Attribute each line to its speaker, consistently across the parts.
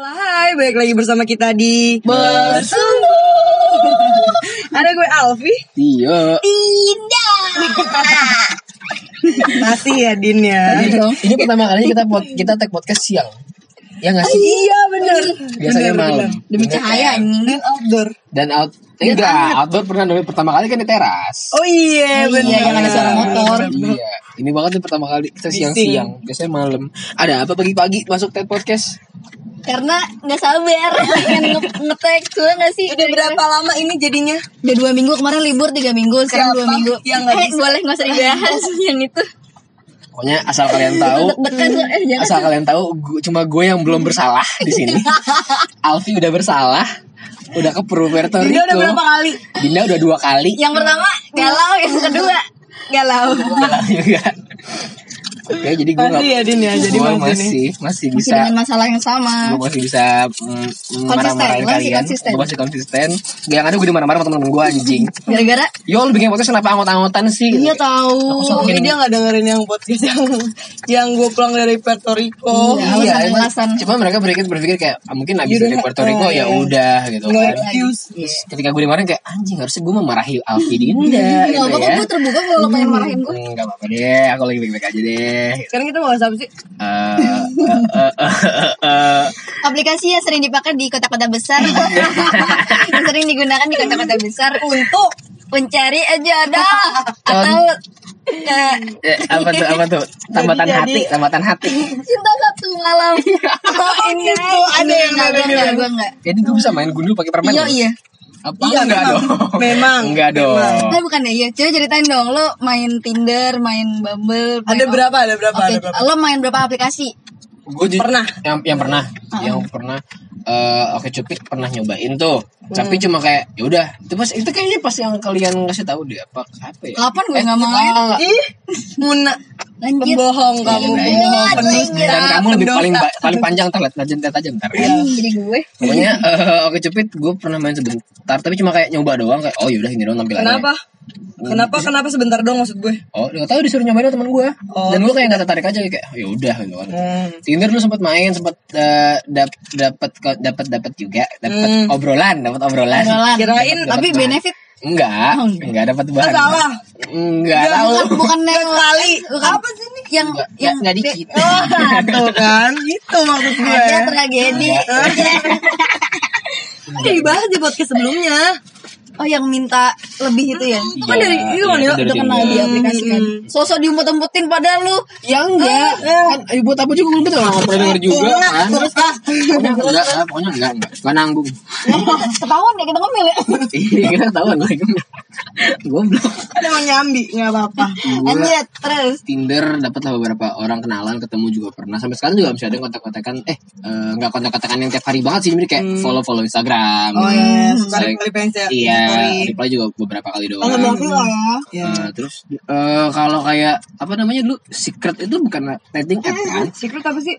Speaker 1: balik lagi bersama kita di Bersumbu Ada gue Alfi
Speaker 2: Iya.
Speaker 1: Masih ya Din ya
Speaker 2: Ini, ini pertama kali kita pod, kita tag podcast siang. Ya nggak sih?
Speaker 1: Iya bener
Speaker 2: Biasanya
Speaker 1: Bener,
Speaker 2: malam.
Speaker 1: bener.
Speaker 3: Demi cahaya anjing.
Speaker 1: Dan outdoor
Speaker 2: Dan out
Speaker 1: Iya
Speaker 2: enggak, outdoor pernah dulu pertama kali kan di teras.
Speaker 1: Oh iya bener
Speaker 3: yang ada suara motor.
Speaker 2: Iya, ini banget nih pertama kali kita siang-siang. Biasanya malam. Ada apa pagi-pagi masuk tag podcast?
Speaker 3: Karena nggak sabar pengen nge- ngetek tuh nggak sih?
Speaker 1: Udah berapa lama ini jadinya?
Speaker 3: Udah dua minggu kemarin libur tiga minggu
Speaker 1: Siapa
Speaker 3: sekarang dua minggu.
Speaker 1: yang nggak
Speaker 3: eh,
Speaker 1: bisa?
Speaker 3: boleh nggak usah dibahas yang itu.
Speaker 2: Pokoknya asal
Speaker 1: Iya,
Speaker 2: kalian tahu,
Speaker 3: Deg-degan
Speaker 1: Hmm.
Speaker 3: tuh, eh
Speaker 1: kan?
Speaker 3: jangan.
Speaker 2: asal kalian tahu gu- cuma gue yang belum bersalah di sini. Alfi udah bersalah, udah ke Puerto Rico.
Speaker 1: Dia udah berapa kali? Iya.
Speaker 2: Dinda udah dua kali.
Speaker 3: Yang pertama galau, yang kedua galau.
Speaker 2: Iya. Oke, jadi gue
Speaker 1: Masih ya Din ya Jadi
Speaker 2: gue
Speaker 1: masih nih
Speaker 2: masih masih
Speaker 3: Masih
Speaker 2: bisa
Speaker 3: dengan masalah yang sama.
Speaker 2: gue masih bisa mm, mm, marah-marahin
Speaker 3: Konsisten, lo masih
Speaker 2: kalian
Speaker 3: konsisten.
Speaker 2: gue masih konsisten yang ada gue dimarah-marah sama temen gue anjing
Speaker 3: Gara-gara
Speaker 2: yo lu bikin podcast kenapa angot-angotan sih
Speaker 3: dia tahu.
Speaker 2: sama-
Speaker 1: Mungkin Oh, dia gak dengerin yang podcast yang Yang gue pulang dari Puerto Rico
Speaker 3: Iya. alasan-
Speaker 2: emang.
Speaker 3: alasan.
Speaker 2: cuma mereka berpikir berpikir kayak ah, mungkin abis
Speaker 1: Yaudah,
Speaker 2: dari Puerto Rico
Speaker 1: eh,
Speaker 2: ya udah gitu
Speaker 1: No
Speaker 2: kan
Speaker 1: excuse
Speaker 2: Terus ketika gue dimarahin kayak anjing harusnya gue memarahi Alfi Dinda
Speaker 3: Gak
Speaker 2: gitu
Speaker 3: apa-apa
Speaker 2: ya
Speaker 3: gue terbuka kalau lo pengen marahin gue.
Speaker 2: Hmm, Gak apa-apa deh, aku lagi baik-baik aja deh.
Speaker 1: Sekarang kita mau bahas apa sih?
Speaker 2: Eh, eh, eh, eh, eh,
Speaker 3: Aplikasi yang sering dipakai di kota-kota besar. yang sering digunakan di kota-kota besar
Speaker 1: Untuk
Speaker 3: mencari aja ada atau eh,
Speaker 2: eh, apa tuh apa tuh tambatan
Speaker 1: Jadi-
Speaker 2: hati tambatan hati
Speaker 3: cinta satu malam oh ini
Speaker 1: Itu Iya. ada yang
Speaker 3: enggak
Speaker 1: ada
Speaker 3: gue enggak
Speaker 1: yang-
Speaker 3: gue enggak
Speaker 2: jadi gue Ya, bisa main gundul pakai permen
Speaker 3: iya
Speaker 2: loh.
Speaker 3: iya
Speaker 2: Apa
Speaker 1: Iya,
Speaker 2: enggak
Speaker 1: memang.
Speaker 2: dong?
Speaker 1: Memang.
Speaker 2: Enggak dong.
Speaker 1: Oh.
Speaker 3: nah bukan ya iya coba ceritain dong lo main tinder main bumble main- oh,
Speaker 1: Ada berapa? Ada berapa?
Speaker 3: Oke,
Speaker 1: Ada berapa?
Speaker 3: lo main berapa aplikasi
Speaker 2: Gue
Speaker 1: Pernah. Ah,
Speaker 2: Yang yang pernah, yang pernah eh Oke Cupid pernah nyobain tuh. Tapi
Speaker 1: Hmm.
Speaker 2: cuma kayak ya udah, itu pas itu kayaknya pas yang kalian ngasih tahu deh apa apa ya?
Speaker 3: Kapan gue nggak mau main?
Speaker 2: enggak.
Speaker 1: Ih, Muna,
Speaker 3: lanjut
Speaker 1: pembohong kamu,
Speaker 2: Iya,
Speaker 1: pembohong
Speaker 3: iya,
Speaker 1: pendusta.
Speaker 2: Dan kamu lebih
Speaker 1: pendosa.
Speaker 2: paling ba- paling panjang terlihat lanjut lihat aja ntar.
Speaker 1: Iya.
Speaker 3: Ih, jadi gue
Speaker 2: Pokoknya eh, Oke Cupid gue pernah main sebentar, tapi cuma kayak nyoba doang kayak oh yaudah ini doang tampilannya.
Speaker 1: Kenapa? Kenapa? Kenapa sebentar dong maksud gue?
Speaker 2: Oh, nggak tahu disuruh nyobain sama teman gue.
Speaker 1: Oh.
Speaker 2: Dan gue kayak nggak tertarik aja kayak ya udah gitu kan.
Speaker 1: Hmm.
Speaker 2: Tinder dulu sempat main, eh, sempat dapat dapat dapat dapat juga, dapat
Speaker 1: Hmm.
Speaker 2: obrolan, dapat obrolan.
Speaker 3: Rolan
Speaker 1: Kirain
Speaker 3: tapi benefit
Speaker 2: Enggak,
Speaker 3: Oh, enggak.
Speaker 2: enggak dapat
Speaker 1: Ah,
Speaker 2: bahan.
Speaker 1: salah.
Speaker 2: Enggak tahu.
Speaker 3: bukan bukan yang
Speaker 1: Kali.
Speaker 3: bukan apa sih ini yang
Speaker 2: Enggak-
Speaker 3: yang
Speaker 2: enggak dikit.
Speaker 3: oh
Speaker 1: Tuh kan, gitu maksud gue.
Speaker 3: ada tragedi
Speaker 1: Iya. Udah dibahas di podcast sebelumnya.
Speaker 3: oh yang minta lebih itu ya
Speaker 1: Itu kan dari itu kan ya.
Speaker 2: dari
Speaker 3: udah kenal
Speaker 2: Tinder.
Speaker 3: dia aplikasi kan
Speaker 1: Hmm.
Speaker 3: sosok diumpet-umpetin padahal lu
Speaker 2: Ya enggak. Kan eh, buat apa juga gue betul orang pernah denger juga kan.
Speaker 1: Terus ah,
Speaker 2: Pokoknya enggak, ah, pokoknya enggak, enggak. Enggak nanggung.
Speaker 3: ketahuan ya kita ngomel ya
Speaker 2: Iya, kita tahu gue. Goblok.
Speaker 1: kan emang nyambi, nggak apa-apa.
Speaker 2: Gua
Speaker 3: anjir Iya, terus
Speaker 2: Tinder dapatlah beberapa orang kenalan ketemu juga pernah sampai sekarang juga masih ada yang kontak-kontakan eh eh, nggak kontak-kontakan yang tiap hari banget sih jadi kayak follow-follow Instagram
Speaker 1: Oh ya, sekali
Speaker 2: Sering-
Speaker 1: kali pengen saya.
Speaker 2: iya
Speaker 1: story.
Speaker 2: reply juga beberapa kali doang
Speaker 1: Kalau mau
Speaker 3: Gila ya
Speaker 1: ya.
Speaker 2: Eh, terus eh, kalau kayak apa namanya dulu secret itu bukan dating app kan
Speaker 1: Secret apa sih?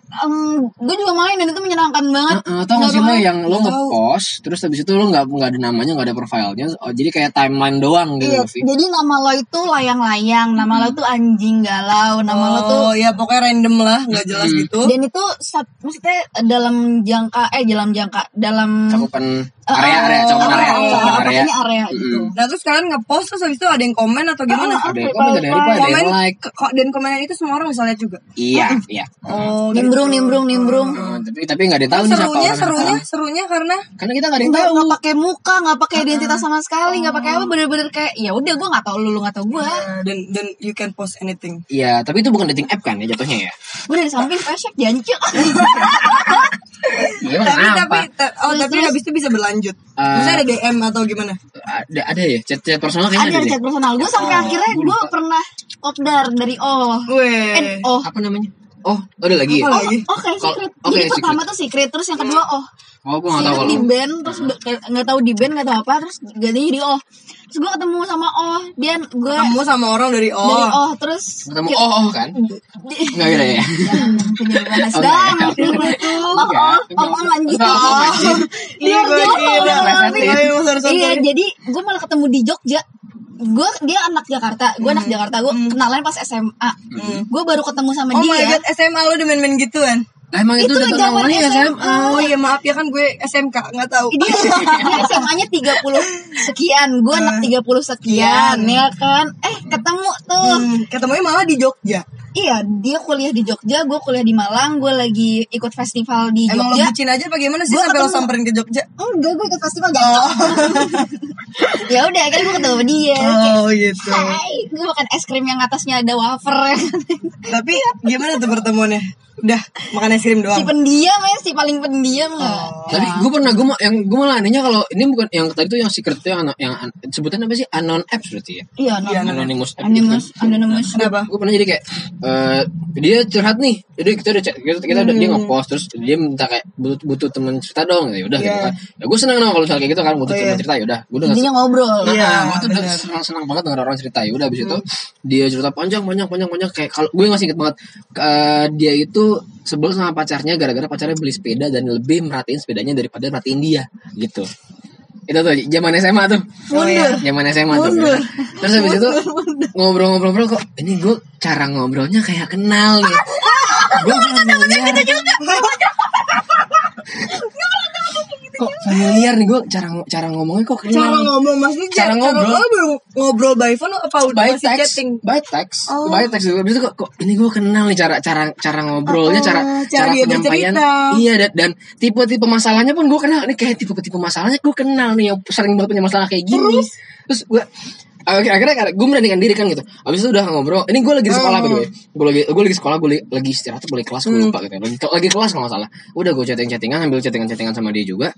Speaker 3: gue juga main dan itu menyenangkan banget
Speaker 2: Heeh, Eh, tau gak sih lo yang lo
Speaker 1: Tahu.
Speaker 2: ngepost terus habis itu lo nggak nggak ada namanya nggak ada profilnya oh, jadi kayak timeline doang gitu
Speaker 3: Iya,
Speaker 2: sih
Speaker 3: jadi nama lo itu layang-layang, nama lo tuh anjing galau, nama lo tuh
Speaker 1: Oh ya pokoknya random lah, nggak jelas gitu.
Speaker 2: Oh.
Speaker 3: dan itu sat- maksudnya dalam jangka eh dalam jangka dalam
Speaker 2: cakupan
Speaker 3: eh,
Speaker 2: area area cakupan area
Speaker 3: area,
Speaker 2: cakupan area
Speaker 3: pokoknya area gitu.
Speaker 1: Nah terus kalian ngepost terus habis itu ada yang komen atau gimana?
Speaker 2: ada yang komen ada yang reply ada yang like
Speaker 1: ke- kok- dan komenan itu semua orang bisa lihat juga.
Speaker 2: iya iya
Speaker 1: Oh,
Speaker 3: Nimbrung, nimbrung, nimbrung.
Speaker 2: Hmm, tapi tapi nggak ada yang tahu nih siapa
Speaker 1: serunya
Speaker 2: orang
Speaker 1: serunya serunya karena
Speaker 2: karena kita nggak ada yang
Speaker 3: Nggak
Speaker 2: tahu
Speaker 3: nggak pakai muka, nggak pakai identitas sama sekali, nggak pakai apa,
Speaker 2: Oh.
Speaker 3: bener-bener kayak ya udah gue nggak tahu lu, lu nggak tahu gue.
Speaker 1: uh, dan dan you can post anything.
Speaker 2: iya tapi itu bukan dating app kan ya jatuhnya ya
Speaker 3: Gue dari samping pesek janji.
Speaker 2: iya emang
Speaker 1: Tapi tapi
Speaker 2: kenapa Eh.
Speaker 1: ta- oh tapi habis itu bisa berlanjut. Maksudnya ada DM atau gimana?
Speaker 2: ada ada ya chat chat personal
Speaker 3: Ada
Speaker 2: kayaknya ada,
Speaker 3: dari
Speaker 2: deh
Speaker 3: chat personal gue sampai akhirnya gue pernah kopdar dari oh, and
Speaker 1: Gue
Speaker 3: oh.
Speaker 2: apa namanya oh ada lagi ya?
Speaker 1: Apa lagi?
Speaker 3: Oh kayak
Speaker 2: Kalau-
Speaker 3: secret.
Speaker 2: oke,
Speaker 3: Jadi
Speaker 2: secret.
Speaker 3: pertama tuh secret, terus yang kedua oh.
Speaker 2: oh gue nggak tahu
Speaker 3: Secret
Speaker 2: kalau
Speaker 3: di band, terus be- kayak nggak tahu di band nggak tahu apa, terus gantinya jadi oh. Terus gue ketemu sama oh, dia gue
Speaker 1: Kamu sama orang dari
Speaker 3: dari
Speaker 1: oh.
Speaker 3: oh terus
Speaker 2: ketemu oh oh kan
Speaker 3: di-
Speaker 2: nggak gitu ya
Speaker 3: Jangan punya bahas
Speaker 2: Oke.
Speaker 3: dong. Oh, oh,
Speaker 2: Enggak.
Speaker 3: oh, oh, lanjut.
Speaker 2: Enggak, oh, lanjut.
Speaker 3: Iya,
Speaker 1: gue
Speaker 3: jauh,
Speaker 1: kira.
Speaker 3: jauh,
Speaker 2: Lesetin.
Speaker 3: jauh.
Speaker 1: Ayo, sorry, sorry,
Speaker 3: Iya,
Speaker 1: sorry.
Speaker 3: jadi gue malah ketemu di Jogja. Gue dia anak Jakarta, gue anak Jakarta, gue kenalan pas SMA. Gue baru ketemu sama
Speaker 1: Oh my
Speaker 3: dia. ya?
Speaker 1: god, SMA lu udah main-main gituan.
Speaker 2: Lah emang itu,
Speaker 3: Itu
Speaker 2: udah tahun
Speaker 3: zaman
Speaker 2: awalnya
Speaker 3: SMA.
Speaker 2: SMA.
Speaker 4: Oh iya maaf ya kan gue SMK nggak tahu.
Speaker 3: Ah. dia, dia SMA-nya 30 sekian, gue anak 30 sekian, ya kan? Eh, ketemu tuh.
Speaker 4: Hmm, ketemunya malah di Jogja.
Speaker 3: Iya, dia kuliah di Jogja, gue kuliah di Malang, gue lagi ikut festival di
Speaker 4: Emang lo
Speaker 3: Jogja.
Speaker 4: bucin aja bagaimana sih
Speaker 3: Gua
Speaker 4: sampai lo
Speaker 3: ketemu. Oh,
Speaker 4: samperin ke Jogja?
Speaker 3: Enggak, gue ikut festival jatuh. ya udah, kan gue ketemu dia.
Speaker 4: Oh gitu.
Speaker 3: Hai, gue makan es krim yang atasnya ada wafer. ya kan?
Speaker 4: Tapi gimana tuh pertemuannya? Udah makan es krim
Speaker 3: si
Speaker 4: doang.
Speaker 3: pendiam ya, si paling pendiam lah.
Speaker 2: Tapi gue pernah gue yang gue malah anehnya kalau ini bukan yang tadi tuh yang secret tuh yang yang sebutan apa sih anon apps berarti ya.
Speaker 3: Iya, no.
Speaker 4: Iya,
Speaker 2: Anonymous app gitu kan.
Speaker 3: Anonymous, anonymous.
Speaker 4: Kenapa?
Speaker 2: gue pernah jadi kayak eh dia curhat nih jadi kita udah chat- kita, kita udah dia ngepost terus dia minta kayak butuh, butuh teman cerita dong ya udah gitu
Speaker 4: Iya.
Speaker 2: kan ya gue seneng dong kalau misalnya kayak gitu kan butuh
Speaker 4: Oh,
Speaker 2: teman
Speaker 4: iya.
Speaker 2: cerita ya udah gue udah
Speaker 3: Intinya ngobrol.
Speaker 2: Nah,
Speaker 4: Iya,
Speaker 2: gue tuh udah
Speaker 4: bener.
Speaker 2: senang senang banget denger orang cerita ya. Udah abis itu dia cerita panjang panjang panjang panjang kayak kalau gue masih inget banget eh, dia itu sebel sama pacarnya gara-gara pacarnya beli sepeda dan lebih merhatiin sepedanya daripada merhatiin dia gitu. Itu tuh zaman SMA tuh.
Speaker 4: Oh, iya.
Speaker 2: Zaman SMA tuh. Terus habis itu ngobrol-ngobrol-ngobrol kok ini gue cara ngobrolnya kayak kenal nih. gue familiar. Kok familiar nih gue cara cara ngomongnya kok kenal.
Speaker 4: Cara
Speaker 2: nih
Speaker 4: ngomong maksudnya
Speaker 2: Hmm. Cara ngobrol.
Speaker 4: lo baru ngobrol by phone apa udah
Speaker 2: by
Speaker 4: masih
Speaker 2: text,
Speaker 4: chatting?
Speaker 2: by text,
Speaker 4: Oh.
Speaker 2: by text. Habis itu kok, kok ini gue kenal nih cara cara cara ngobrolnya,
Speaker 4: Oh,
Speaker 2: cara
Speaker 4: cara
Speaker 2: cara,
Speaker 4: dia
Speaker 2: penyampaian.
Speaker 4: bercerita.
Speaker 2: Iya dan, dan tipe-tipe masalahnya pun gue kenal. Ini kayak tipe-tipe masalahnya gue kenal nih yang sering banget punya masalah kayak gini. Terus, gue akhir- akhirnya gue meranikan diri kan gitu. Abis itu udah ngobrol. Ini gue lagi di sekolah
Speaker 4: Oh.
Speaker 2: by the way. Gue lagi gue lagi sekolah, gue li- lagi istirahat, gue lagi kelas,
Speaker 4: Hmm.
Speaker 2: gue lupa gitu. Lagi, lagi kelas kalau nggak salah. Udah gue chatting-chattingan, ambil chattingan-chattingan sama dia juga.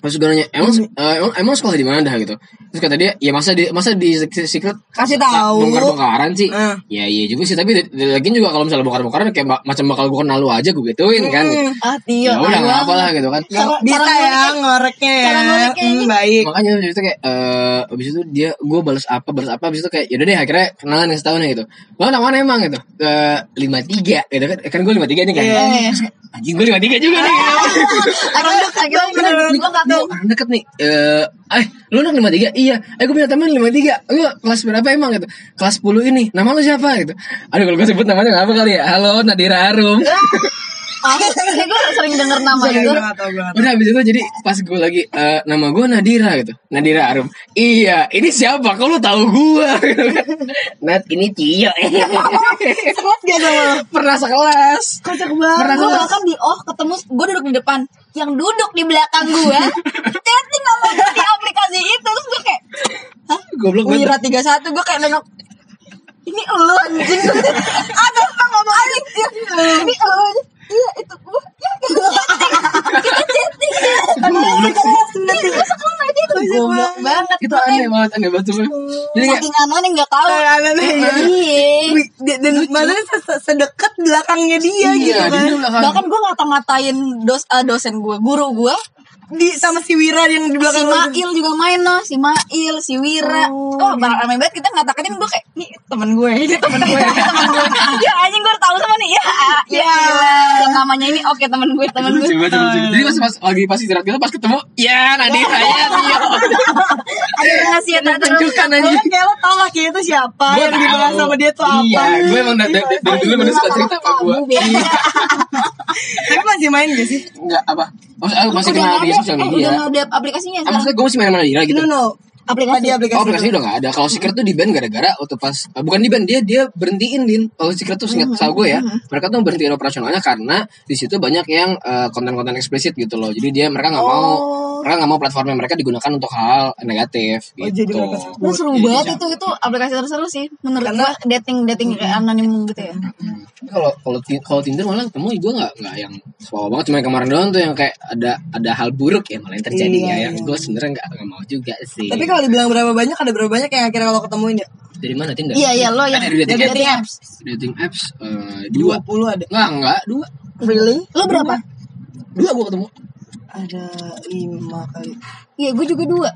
Speaker 2: Terus gue nanya, emang,
Speaker 4: Hmm.
Speaker 2: eh, emang, emang sekolah di mana dah gitu? Terus kata dia, ya masa di masa di secret
Speaker 4: Kasih tahu.
Speaker 2: bongkar-bongkaran sih.
Speaker 4: Eh.
Speaker 2: Ya iya juga sih, tapi lagi juga kalau misalnya bongkar-bongkaran kayak ba- macam bakal gue kenal lu aja gue gituin kan.
Speaker 4: Hmm.
Speaker 2: Gitu.
Speaker 3: Ah,
Speaker 2: Ya
Speaker 3: Tio.
Speaker 4: Iya,
Speaker 2: udah
Speaker 3: parah
Speaker 2: nggak apa lah
Speaker 3: banget.
Speaker 2: gitu kan.
Speaker 4: Ya,
Speaker 3: Cara-
Speaker 4: bisa
Speaker 3: cara
Speaker 4: ya
Speaker 3: ngorek-
Speaker 4: ngoreknya ya.
Speaker 3: cara ngoreknya
Speaker 4: Hmm,
Speaker 3: ini.
Speaker 4: baik.
Speaker 2: Makanya abis itu kayak eh abis itu dia gue balas apa balas apa abis itu kayak yaudah deh akhirnya kenalan yang setahun gitu. Lo anak mana emang gitu? Lima tiga gitu kan? Kan gue lima tiga nih kan.
Speaker 4: Iya.
Speaker 2: Anjing gue lima tiga juga nih.
Speaker 3: Orang udah kaget bener
Speaker 2: Nih,
Speaker 3: gue kaget.
Speaker 2: nih,
Speaker 4: Iya.
Speaker 2: Iya, orang deket nih eh eh lu anak 53 iya eh gue punya teman 53 lu kelas berapa emang gitu kelas 10 ini nama lu siapa gitu aduh kalau gue sebut namanya nggak apa kali ya halo Nadira Arum
Speaker 3: Ah, kayak gue sering denger nama
Speaker 4: Sorry,
Speaker 3: itu.
Speaker 4: gua nggak tahu, gua nggak tahu.
Speaker 2: udah habis itu jadi pas gue lagi eh, nama gue Nadira gitu Nadira Arum iya ini siapa kok lu tahu gue gitu kan Nat ini Cio
Speaker 4: Sekelas gak sama lo?
Speaker 2: pernah sekelas
Speaker 4: Kocak banget.
Speaker 2: Pernah
Speaker 3: Gue
Speaker 2: sekelas
Speaker 3: bahkan di oh ketemu gue duduk di depan yang duduk di belakang gue chatting sama gue di aplikasi itu terus gue kayak hah
Speaker 2: goblok banget
Speaker 3: Wira 31 gue kayak nengok ini elu anjing ada apa ngomong anjing Iya, ini elu iya itu gue ya kita chatting ya gue sekolah aja itu goblok banget
Speaker 2: itu aneh banget aneh banget sumpah. jadi kayak
Speaker 3: saking aneh nggak tahu
Speaker 4: Kayak aneh ya.
Speaker 3: Oh, iya
Speaker 4: Wih, dia- Dan maksudnya se- se- sedekat belakangnya dia
Speaker 2: iya
Speaker 4: gitu kan.
Speaker 2: dia belakang.
Speaker 3: bahkan gue ngata-ngatain dos eh, dosen gue guru gue
Speaker 4: Di sama si Wira yang di
Speaker 3: si
Speaker 4: belakang lo.
Speaker 3: Mail juga main loh si Mail si Wira oh, barang rame banget kita ngatakan gue kayak nih temen gue ini temen gue ini temen gue ya anjing gue udah tahu sama nih ya ya,
Speaker 4: Ya.
Speaker 3: gila. namanya ini oke temen gue temen gue
Speaker 2: Lucu banget, lucu banget. Jadi pas, pas lagi pas istirahat kita pas ketemu, ya Nadira ya Tio.
Speaker 3: ada rahasia tak
Speaker 2: Tunjukkan aja.
Speaker 4: Iya, Pokoknya kayak lo tau laki itu siapa yang dibahas sama dia tuh apa.
Speaker 2: Iya, gue emang dari dari- dari dulu emang dia suka cerita sama gue.
Speaker 4: Tapi masih main gak sih?
Speaker 2: Enggak apa. Mas- aku masih
Speaker 3: udah
Speaker 2: kenal
Speaker 3: nggak
Speaker 2: dia
Speaker 3: ada
Speaker 2: sosial
Speaker 3: eh,
Speaker 2: media.
Speaker 3: udah nggak ada
Speaker 2: Eh,
Speaker 3: aplikasinya sekarang
Speaker 2: maksudnya gue masih main sama Nadira gitu.
Speaker 4: No no.
Speaker 3: aplikasi
Speaker 4: Tadi aplikasi.
Speaker 2: Oh, aplikasi udah gak ada. Kalau Secret tuh di ban gara-gara waktu pas eh, bukan di ban dia dia berhentiin din. Kalau Secret tuh singkat salah gue ya, mereka tuh berhentiin operasionalnya karena di situ banyak yang eh, konten-konten eksplisit gitu loh. Jadi dia mereka nggak mau mereka nggak mau platformnya mereka digunakan untuk hal negatif gitu. Iya,
Speaker 4: Oh, jadi mereka sebut.
Speaker 3: Terus seru banget itu iya, itu aplikasi terseru sih menurut gue dating dating kayak anonim gitu ya.
Speaker 2: Tapi kalau kalau Tin- kalau Tinder malah ketemu gue nggak nggak yang wow banget cuma yang kemarin doang tuh yang kayak ada ada hal buruk ya malah yang terjadi
Speaker 4: Iya,
Speaker 2: ya yang gue sebenarnya nggak nggak mau juga sih
Speaker 4: Tapi kalau dibilang berapa banyak ada berapa banyak yang akhirnya kalau ketemuin ya?
Speaker 2: dari mana Tinder
Speaker 3: Iya iya lo yang
Speaker 2: dari dating apps.
Speaker 3: dating apps.
Speaker 2: dating apps eh, dua
Speaker 4: 20 ada.
Speaker 2: nggak nggak dua
Speaker 4: Really?
Speaker 3: Lo berapa?
Speaker 2: dua gue ketemu
Speaker 4: Ada 5 kali.
Speaker 3: Iya gue juga dua.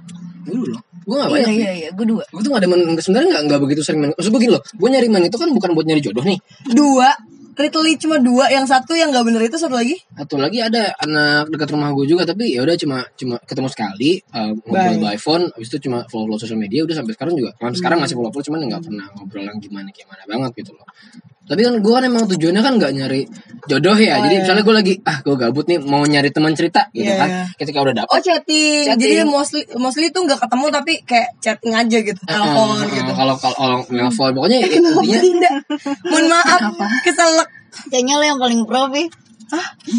Speaker 2: dulu loh gue nggak
Speaker 3: Iya
Speaker 2: banyak
Speaker 3: iya iya gue dua.
Speaker 2: gue tuh gak ada man, sebenarnya gak, nggak begitu sering man. Maksud gue gini loh, gue nyari man itu kan bukan buat nyari jodoh nih.
Speaker 4: Dua. Literally cuma dua, yang satu yang gak bener itu satu lagi.
Speaker 2: Atau lagi ada anak dekat rumah gue juga tapi ya udah cuma cuma ketemu sekali eh, ngobrol by phone habis itu cuma follow
Speaker 1: Hmm.
Speaker 2: follow sosial media udah sampai sekarang juga Kan sekarang masih follow follow cuman nggak pernah ngobrol yang gimana gimana banget gitu loh tapi kan gue kan emang tujuannya kan nggak nyari jodoh ya jadi misalnya gue lagi ah gue gabut nih mau nyari teman cerita
Speaker 1: Oh,
Speaker 2: gitu
Speaker 1: Iya,
Speaker 2: kan
Speaker 1: iya.
Speaker 2: ketika udah dapet
Speaker 1: Oh chatting.
Speaker 4: Chatting.
Speaker 1: Jadi mostly mostly tuh nggak ketemu tapi kayak chatting aja gitu, telepon
Speaker 2: eh, eh,
Speaker 1: gitu.
Speaker 2: kalau kalau kalau nelfon pokoknya intinya
Speaker 1: Dinda, mohon maaf, keselak.
Speaker 3: Kayaknya lo yang paling pro Pi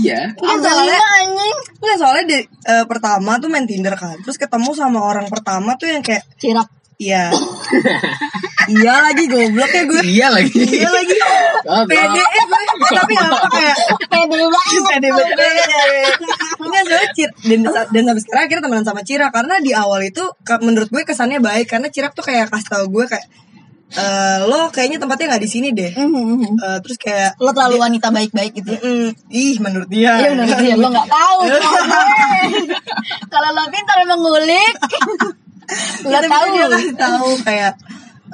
Speaker 2: iya
Speaker 1: Nggak, soalnya anjing. Nggak, soalnya di, eh, pertama tuh main Tinder kan, terus ketemu sama orang pertama tuh yang kayak,
Speaker 3: Cirak
Speaker 1: iya, iya lagi goblok ya gue,
Speaker 2: iya lagi
Speaker 1: iya lagi,
Speaker 2: Ah,
Speaker 1: pede
Speaker 2: ah.
Speaker 1: eh gue, tapi nggak apa kayak
Speaker 3: Pede banget
Speaker 1: pede banget. ya? Enggak soalnya Cir dan dan sampai sekarang akhirnya temenan sama Cira karena di awal itu ke- menurut gue kesannya baik karena Cira tuh kayak kasih tau gue kayak eh, lo kayaknya tempatnya nggak di sini deh.
Speaker 3: Mm.
Speaker 1: Eh, terus kayak
Speaker 3: Mm-hmm. Lo terlalu wanita baik-baik gitu
Speaker 1: "Mm-mm, ih menurut dia. Gitu.
Speaker 3: Iya benar dia lo nggak tahu.
Speaker 1: Iya.
Speaker 3: Kalau lo pintar emang ngulik, lo
Speaker 1: Iya, Tapi
Speaker 3: tahu.
Speaker 1: dia kan kasih tahu kayak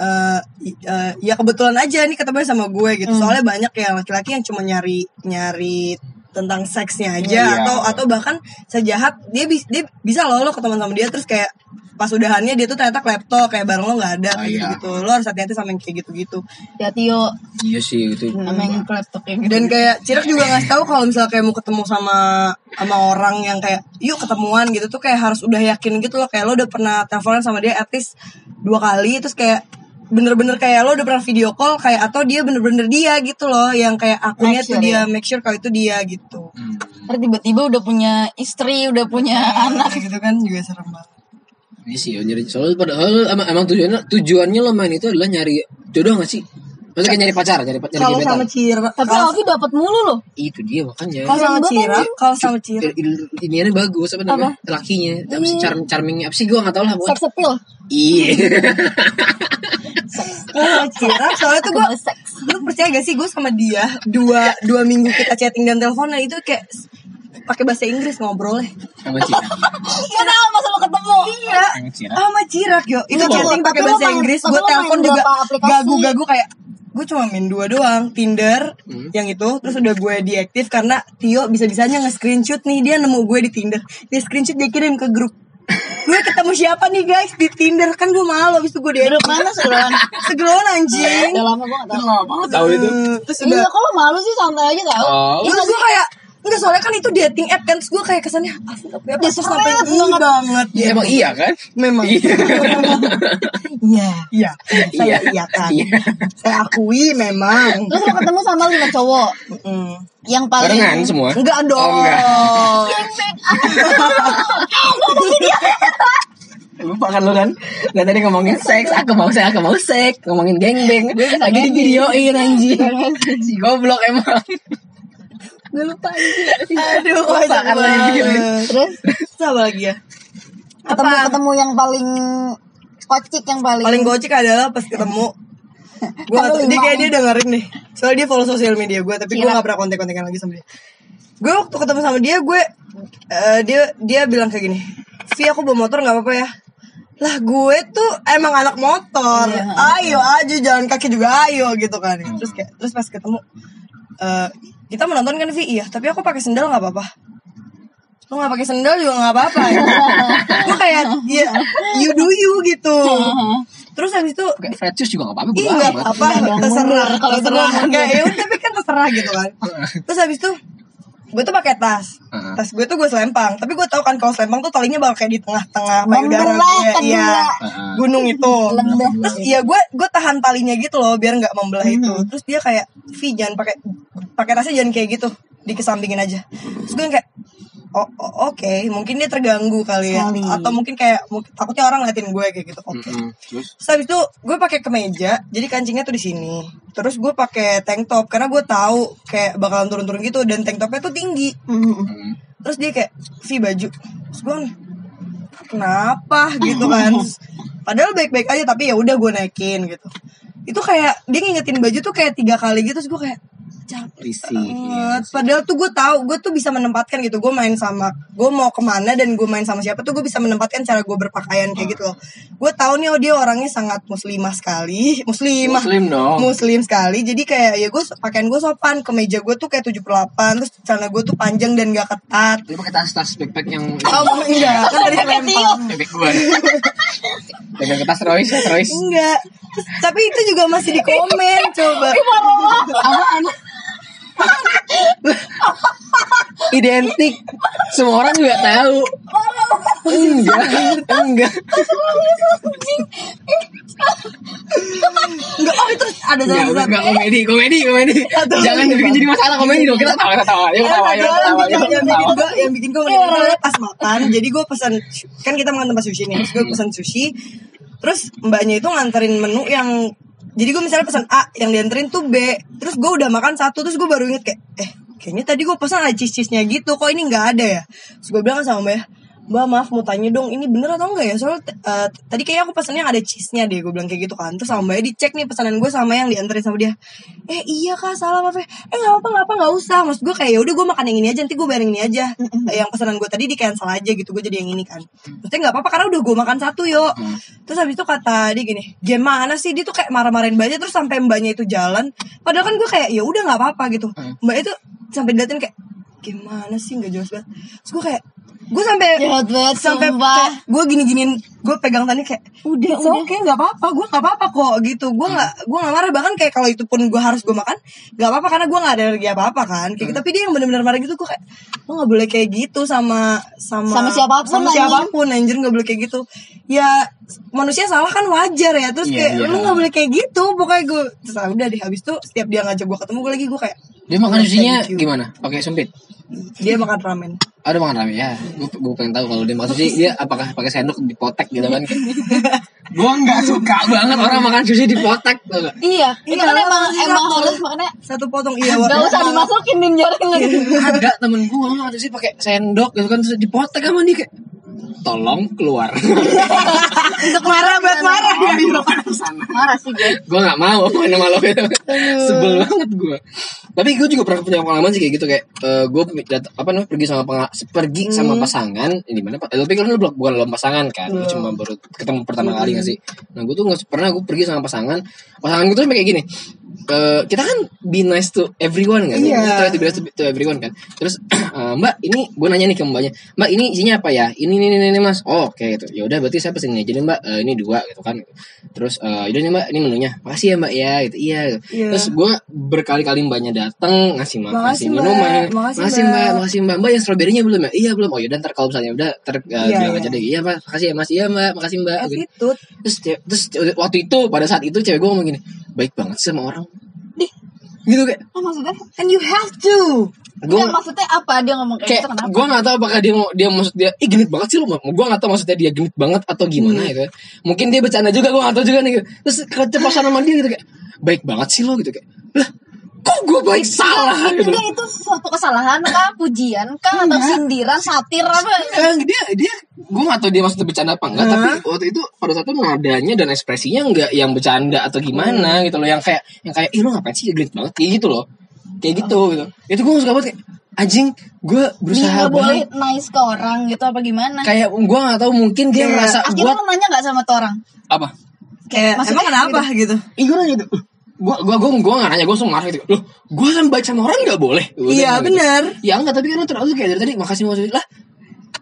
Speaker 1: eh, i- eh, ya kebetulan aja nih ketemu sama gue gitu. Soalnya banyak ya laki-laki yang cuma nyari nyari tentang seksnya aja
Speaker 2: Iya.
Speaker 1: atau atau bahkan sejahat dia, bis- dia bisa loh lo ketemu sama dia terus kayak pas udahannya dia tuh ternyata klepto kayak barang lo nggak ada
Speaker 2: Oh,
Speaker 1: gitu
Speaker 2: iya.
Speaker 1: gitu lo harus hati-hati sama yang kayak gitu-gitu
Speaker 3: Hati-hati yo,
Speaker 2: iya sih itu
Speaker 3: sama yang klepto kayak gitu.
Speaker 1: Hmm. dan kayak Cirak juga ngasih tahu kalau misalnya kayak mau ketemu sama sama orang yang kayak yuk ketemuan gitu tuh kayak harus udah yakin gitu loh kayak lo udah pernah teleponan sama dia at least dua kali terus kayak bener-bener kayak lo udah pernah video call kayak atau dia bener-bener dia gitu loh yang kayak akunnya
Speaker 3: Make
Speaker 1: tuh
Speaker 3: sure, ya.
Speaker 1: dia make sure kalau itu dia gitu
Speaker 3: Ntar tiba-tiba udah punya istri, udah punya anak.
Speaker 1: gitu kan juga serem banget
Speaker 2: Iya sih, ya, nyari soalnya pada soalnya emang, emang tujuannya tujuannya lo main itu adalah nyari jodoh gak sih? Maksudnya kayak nyari pacar, nyari pacar, nyari
Speaker 1: kalau
Speaker 2: gebetan.
Speaker 1: sama Cirak
Speaker 3: Tapi Alfi dapat mulu loh.
Speaker 2: Itu dia makanya.
Speaker 1: kalau sama
Speaker 3: Serem banget,
Speaker 1: Cirak kalau sama Cirak
Speaker 2: Il- il- Iniannya bagus apa namanya? Lakinya, apa
Speaker 1: Hmm.
Speaker 2: sih charm charmingnya apa sih? Gue gak tau lah. pokoknya.
Speaker 3: Sex appeal.
Speaker 2: Iya.
Speaker 1: Kalau Cirak soalnya tuh gue
Speaker 3: Aku mau seks.
Speaker 1: Lu percaya gak sih gue sama dia Dua, dua minggu kita chatting dan teleponan itu kayak s- pakai bahasa Inggris ngobrolnya
Speaker 2: Sama Cira.
Speaker 3: Kenapa masa lo ketemu?
Speaker 1: Iya
Speaker 2: Sama Cira.
Speaker 1: sama Cirak yo Itu
Speaker 3: Iya.
Speaker 1: chatting pakai
Speaker 3: Tapi lu
Speaker 1: bahasa
Speaker 3: main-
Speaker 1: Inggris
Speaker 3: tapi
Speaker 1: Gue
Speaker 3: lu main
Speaker 1: telepon juga
Speaker 3: berapa aplikasi?
Speaker 1: gagu-gagu kayak Gue cuma main dua doang Tinder
Speaker 3: Hmm.
Speaker 1: yang itu Terus udah gue diaktif karena Tio bisa-bisanya nge-screenshot nih Dia nemu gue di Tinder Dia screenshot dia kirim ke grup gue ketemu siapa nih guys di Tinder kan gue malu abis itu gue di
Speaker 3: Grup mana seruan?
Speaker 1: segeron anjing
Speaker 3: Udah lama gue gak tau.
Speaker 2: Tahu itu?
Speaker 1: Eh, terus udah
Speaker 3: Iya, kok lo malu sih santai aja tau.
Speaker 2: Oh.
Speaker 1: Terus gue kayak Enggak soalnya kan itu dating app kan Terus gue kayak kesannya Ah gak punya pacar
Speaker 3: Desperate
Speaker 1: sampai ini
Speaker 3: banget.
Speaker 1: banget
Speaker 2: Ya, emang iya kan?
Speaker 1: Memang
Speaker 2: Iya.
Speaker 3: Iya.
Speaker 1: Iya Saya iya kan
Speaker 2: Iya.
Speaker 1: Saya akui memang
Speaker 3: Terus lo ketemu sama lima cowok
Speaker 1: Mm.
Speaker 3: yang paling Iya,
Speaker 2: Barengan semua.
Speaker 1: Enggak dong
Speaker 2: Oh, enggak. Lupa kan lo kan? Dan tadi ngomongin seks, aku mau seks, aku mau seks, ngomongin gengbeng. Lagi di videoin anjing. Si goblok emang.
Speaker 3: Gue lupa anjir.
Speaker 1: Aduh
Speaker 2: Lupa
Speaker 1: banyak
Speaker 2: kan lagi
Speaker 1: banget
Speaker 2: videoin.
Speaker 3: Terus
Speaker 1: Terus apa lagi ya
Speaker 3: ketemu
Speaker 1: Apa?
Speaker 3: ketemu yang paling kocik yang paling,
Speaker 1: Paling gocek adalah pas ketemu Gue
Speaker 3: Kamu
Speaker 1: dia
Speaker 3: lima.
Speaker 1: kayak dia dengerin deh Soalnya dia follow sosial media gue Tapi gue
Speaker 3: Iya.
Speaker 1: gak pernah kontek-kontekan lagi sama dia Gue waktu ketemu sama dia Gue eh, Dia dia bilang kayak gini Vi aku bawa motor gak apa-apa ya Lah gue tuh emang anak motor Ayo
Speaker 3: Iya.
Speaker 1: aja jalan kaki juga ayo gitu kan Terus kayak Terus pas ketemu eh, Kita mau nonton kan Vi Iya tapi aku pakai sendal gak apa-apa Lu gak pakai sendal juga gak apa-apa ya Gue kayak ya, You do you gitu Terus habis itu
Speaker 2: Kayak flat shoes juga gak apa-apa. bodo
Speaker 1: Ih nggak
Speaker 2: amat.
Speaker 1: Iya,
Speaker 2: Iya,
Speaker 1: apa terserah kalau terserah kayak ya udah, tapi kan terserah gitu kan terus habis itu gue tuh pakai tas
Speaker 2: Heeh.
Speaker 1: tas gue tuh gue selempang tapi gue tau kan kalau selempang tuh talinya bakal kayak di tengah-tengah payudara
Speaker 3: Membelah,
Speaker 1: gue
Speaker 3: kan
Speaker 1: iya
Speaker 3: membelah.
Speaker 2: Heeh.
Speaker 1: gunung itu
Speaker 3: Lembah.
Speaker 1: terus iya gue gue tahan talinya gitu loh biar nggak membelah itu
Speaker 2: Hmm.
Speaker 1: terus dia kayak Vi jangan pakai pakai tasnya jangan kayak gitu dikesampingin aja terus gue yang kayak Oh, oh, oke, mungkin dia terganggu kali ya,
Speaker 3: Sekali.
Speaker 1: atau mungkin kayak mungkin- takutnya orang ngeliatin gue kayak gitu. Oke,
Speaker 2: Mm-mm. Hmm, Terus?
Speaker 1: Terus habis itu gue pakai kemeja, jadi kancingnya tuh di sini. Terus gue pakai tank top karena gue tahu kayak bakalan turun-turun gitu dan tank topnya tuh tinggi.
Speaker 3: Mm-mm.
Speaker 2: Mm.
Speaker 1: Terus dia kayak si baju. Terus gue kenapa gitu kan? Terus, Padahal baik-baik aja tapi ya udah gue naikin gitu. Itu kayak dia ngingetin baju tuh kayak tiga kali gitu terus gue kayak capek
Speaker 2: Risih.
Speaker 1: banget. Padahal tuh gue tahu, gue tuh bisa menempatkan gitu. Gue main sama, gue mau kemana dan gue main sama siapa tuh gue bisa menempatkan cara gue berpakaian kayak gitu loh. Gue tahu nih oh dia orangnya sangat muslimah sekali, muslimah,
Speaker 2: Muslim dong.
Speaker 1: muslim sekali. Jadi kayak ya gue pakaian gue sopan, kemeja gue tuh kayak 78 terus celana gue tuh panjang dan gak ketat.
Speaker 2: Lu pakai tas tas backpack yang
Speaker 1: Oh enggak, kan dari selempang.
Speaker 2: bebek gua. Bebek kertas Royce, ya, Royce.
Speaker 1: Enggak. Terus- Tapi itu juga masih di komen coba.
Speaker 2: Apaan? Identik. Semua orang juga tahu. Enggak, enggak.
Speaker 1: Enggak, oh itu ada salah
Speaker 2: Ya, udah,
Speaker 1: satu.
Speaker 2: enggak komedi, komedi, komedi.
Speaker 1: Satu lagi.
Speaker 2: Jangan dibikin jadi masalah komedi dong. Kita tawa, kita tawa. Yuk,
Speaker 1: Ada
Speaker 2: tawa, yuk,
Speaker 1: yang
Speaker 2: tawa,
Speaker 1: bikin-
Speaker 2: yuk,
Speaker 1: yang Iya, bikin
Speaker 2: tawa.
Speaker 1: gue yang bikin gue meninggal pas makan jadi gue pesan kan kita makan tempat sushi nih terus gue pesan sushi terus mbaknya itu nganterin menu yang jadi gue misalnya pesan A yang dianterin tuh B terus gue udah makan satu terus gue baru inget kayak eh kayaknya tadi gue pesan ada cheese-cheese-nya gitu kok ini nggak ada ya terus gue bilang sama mbak Mbak maaf mau tanya dong ini bener atau enggak ya Soalnya t- eh, tadi kayaknya aku pesannya ada cheese-nya deh Gue bilang kayak gitu kan Terus sama mbaknya dicek nih pesanan gue sama yang dianterin sama dia Eh iya kak salah maaf ya Eh gak apa-apa gak apa gak usah Maksud gue kayak yaudah gue makan yang ini aja Nanti gue bayar yang ini aja Eh, Yang pesanan gue tadi di cancel aja gitu Gue jadi yang ini kan Maksudnya gak apa-apa karena udah gue makan satu yuk Terus habis itu kata dia gini Gimana sih dia tuh kayak marah-marahin mbaknya Terus sampai mbaknya itu jalan Padahal kan gue kayak ya udah gak apa-apa gitu
Speaker 3: Mm.
Speaker 1: Mbak itu sampai diliatin kayak Gimana sih gak jelas banget Terus gue kayak Gue sampai
Speaker 3: Jahat banget,
Speaker 1: sampai
Speaker 3: sumpah.
Speaker 1: kayak gue gini-giniin gue pegang tangannya kayak udah so, oke nggak apa-apa gue nggak apa-apa kok gitu gue nggak gue nggak marah bahkan kayak kalau itu pun gue harus gue makan nggak apa-apa karena gue nggak ada energi apa-apa kan kayak gitu. tapi dia yang benar-benar marah gitu gue kayak lo nggak boleh kayak gitu sama sama
Speaker 3: Sama siapapun,
Speaker 1: sama
Speaker 3: anjing.
Speaker 1: siapapun anjir nggak boleh kayak gitu ya manusia salah kan wajar ya terus
Speaker 2: Iya,
Speaker 1: kayak
Speaker 2: iya.
Speaker 1: lu nggak boleh kayak gitu pokoknya gue terus ah, udah deh habis tuh setiap dia ngajak gue ketemu gue lagi gue kayak
Speaker 2: Dia makan
Speaker 1: Thank
Speaker 2: susinya
Speaker 1: you.
Speaker 2: gimana? Oke, sempit.
Speaker 1: dia makan ramen
Speaker 2: Ada makan rame ya. Gue gue pengen tahu kalau dia makan sushi dia apakah pakai sendok dipotek gitu kan? gue nggak suka banget orang makan sushi dipotek tuh. nggak?
Speaker 3: Iya, itu
Speaker 1: Iya,
Speaker 3: kan
Speaker 1: lah,
Speaker 3: emang
Speaker 1: masih
Speaker 3: emang
Speaker 1: satu.
Speaker 3: halus makanya
Speaker 1: satu potong iya
Speaker 3: gak
Speaker 1: Wak.
Speaker 3: usah dimasukin din jaring lagi.
Speaker 2: Ada temen gue makan sushi pakai sendok gitu kan terus dipotek sama dia kayak tolong keluar.
Speaker 1: untuk marah buat marah ya
Speaker 3: Marah sih gue.
Speaker 2: gue nggak mau main sama lo gitu. Sebel banget gue. Tapi gue juga pernah punya pengalaman sih kayak gitu kayak gue apa namanya pergi sama penga- pergi sama pasangan ini mana pak? Eh, Tapi kan lu belum- bukan lo pasangan kan? Gue cuma baru ketemu pertama kali gak sih? Nah gue tuh nggak pernah gue pergi sama pasangan. Pasangan gue tuh sampai kayak gini. eh, kita kan be nice to everyone kan?
Speaker 1: Iya.
Speaker 2: Try to be nice to, to everyone kan? Terus eh, mbak ini gue nanya nih ke mbaknya, mbak ini isinya apa ya? Ini ini ini, ini, mas. Oh, Oke gitu. Ya udah berarti saya pesennya aja nih mbak. Eh, ini dua gitu kan. Terus eh udah nih mbak ini menunya. Makasih ya mbak ya. Gitu. Iya. gitu.
Speaker 1: Iya.
Speaker 2: Terus gue berkali-kali mbaknya datang ngasih ma-
Speaker 1: Makasih,
Speaker 2: ngasih
Speaker 1: Mbak.
Speaker 2: minuman.
Speaker 1: Makasih,
Speaker 2: Makasih
Speaker 1: Mbak.
Speaker 2: mbak. Makasih mbak. Mbak yang stroberinya belum ya? Iya belum. Oh yaudah ntar kalau misalnya udah ter eh,
Speaker 1: Iya,
Speaker 2: bilang
Speaker 1: iya.
Speaker 2: aja deh. Iya mbak. Makasih ya mas. Iya mbak. Makasih mbak. Gitu.
Speaker 1: attitude
Speaker 2: Terus, ce- terus ce- waktu itu pada saat itu cewek gue ngomong gini, baik banget sih sama orang. Gitu kayak
Speaker 3: Ah, maksudnya?
Speaker 1: and you have to
Speaker 2: gue
Speaker 3: Enggak,
Speaker 1: Iya,
Speaker 3: maksudnya apa dia ngomong kayak
Speaker 2: kayak
Speaker 3: gitu kenapa?
Speaker 2: gue nggak tahu apakah dia mau dia maksud dia ih genit banget sih lu gue nggak tahu maksudnya dia genit banget atau gimana
Speaker 3: Hmm.
Speaker 2: gitu mungkin dia bercanda juga gue nggak tahu juga nih gitu. terus keceplosan sama dia gitu kayak baik banget sih lo gitu kayak lah kok gue baik salah gitu
Speaker 3: Enggak Iya, itu suatu kesalahan kah, pujian kah, atau sindiran, satir apa?
Speaker 2: Eh, dia dia gue gak tau dia maksudnya bercanda apa enggak tapi waktu itu pada saat itu nadanya dan ekspresinya enggak yang bercanda atau
Speaker 3: Hmm.
Speaker 2: gimana gitu loh yang kayak yang kayak ih lu ngapain sih genit banget kayak gitu loh kayak gitu
Speaker 3: Oh.
Speaker 2: gitu itu gue suka banget kayak anjing gue
Speaker 3: Dia
Speaker 2: berusaha
Speaker 3: nggak boleh
Speaker 2: banget
Speaker 3: nice ke orang gitu apa gimana?
Speaker 2: kayak gue gak tahu mungkin dia
Speaker 1: Kayak,
Speaker 2: merasa
Speaker 3: Iya, Akhirnya
Speaker 2: buat
Speaker 3: lo nanya nggak sama tuh orang?
Speaker 2: apa
Speaker 1: kayak
Speaker 3: Maksudnya
Speaker 1: emang kenapa gitu,
Speaker 2: Ih gue nanya tuh Gue gue gue gue gak nanya gue langsung marah gitu Loh gue kan baik sama orang gak boleh Gua
Speaker 1: Iya,
Speaker 2: bilang gitu.
Speaker 1: benar.
Speaker 2: Ya enggak tapi kan lu terlalu kayak dari tadi Makasih makasih Lah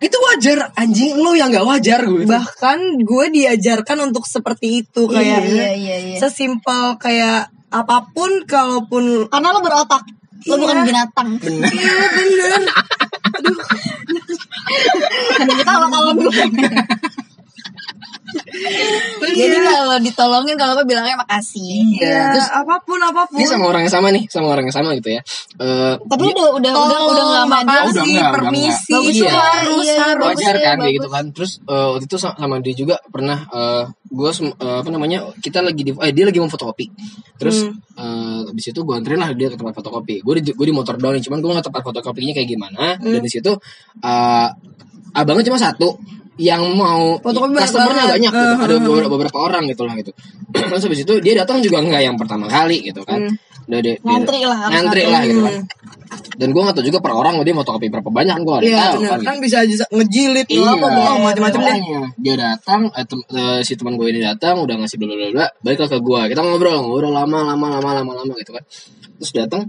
Speaker 2: itu wajar anjing lu yang gak wajar gue gitu.
Speaker 1: bahkan gue diajarkan untuk seperti itu kayak
Speaker 3: Iya, iya, iya.
Speaker 1: sesimpel kayak apapun kalaupun
Speaker 3: Karena lo berotak, lo
Speaker 1: Iya.
Speaker 3: bukan binatang. Bener.
Speaker 1: iya bener
Speaker 3: Karena kita sama kawan gue.
Speaker 2: Iya.
Speaker 3: Jadi kalau ditolongin kalau apa bilangnya makasih.
Speaker 1: ya,
Speaker 2: Terus
Speaker 1: apapun apapun
Speaker 2: dia sama orang yang sama nih Sama orang yang sama gitu ya Eh,
Speaker 3: Tapi
Speaker 2: dia-
Speaker 3: udah udah udah udah nggak main
Speaker 1: makasih,
Speaker 2: Udah enggak, udah
Speaker 1: permisi
Speaker 2: enggak.
Speaker 1: itu
Speaker 2: Iya.
Speaker 1: harus
Speaker 3: Iya, iya,
Speaker 1: harus
Speaker 3: bagus
Speaker 2: wajar kan
Speaker 3: ya,
Speaker 2: kayak
Speaker 3: bagus.
Speaker 2: gitu kan terus eh, waktu itu sa- sama dia juga pernah eh, gue apa namanya kita lagi di eh dia lagi mau fotokopi terus eh, habis itu gue anterin lah dia ke tempat fotokopi gue di gue di motor doang nih cuman gue nggak tahu tempat fotokopinya kayak gimana dan di situ eh, abangnya cuma satu yang mau
Speaker 1: Fotokopi banyak
Speaker 2: customernya
Speaker 1: banget.
Speaker 2: banyak gitu. ada beberapa, beberapa orang gitu lah gitu terus habis itu dia datang juga nggak yang pertama kali gitu kan udah deh
Speaker 3: Ngantri lah, harus
Speaker 2: ngantri
Speaker 3: ngantri.
Speaker 2: lah gitu kan dan gue nggak tahu juga per orang dia mau tokopi berapa banyak kan gue nggak ada yang
Speaker 1: Iya
Speaker 2: tahu
Speaker 1: benar.
Speaker 2: kan gitu.
Speaker 1: Kan bisa aja ngejilid
Speaker 2: Iya,
Speaker 1: apa mau macam-macam deh.
Speaker 2: makanya. Dia datang, eh, tem- eh, si teman gue ini datang, udah ngasih bla bla bla bla, baiklah ke gue. Kita ngobrol, ngobrol lama lama lama lama lama gitu kan. Terus datang,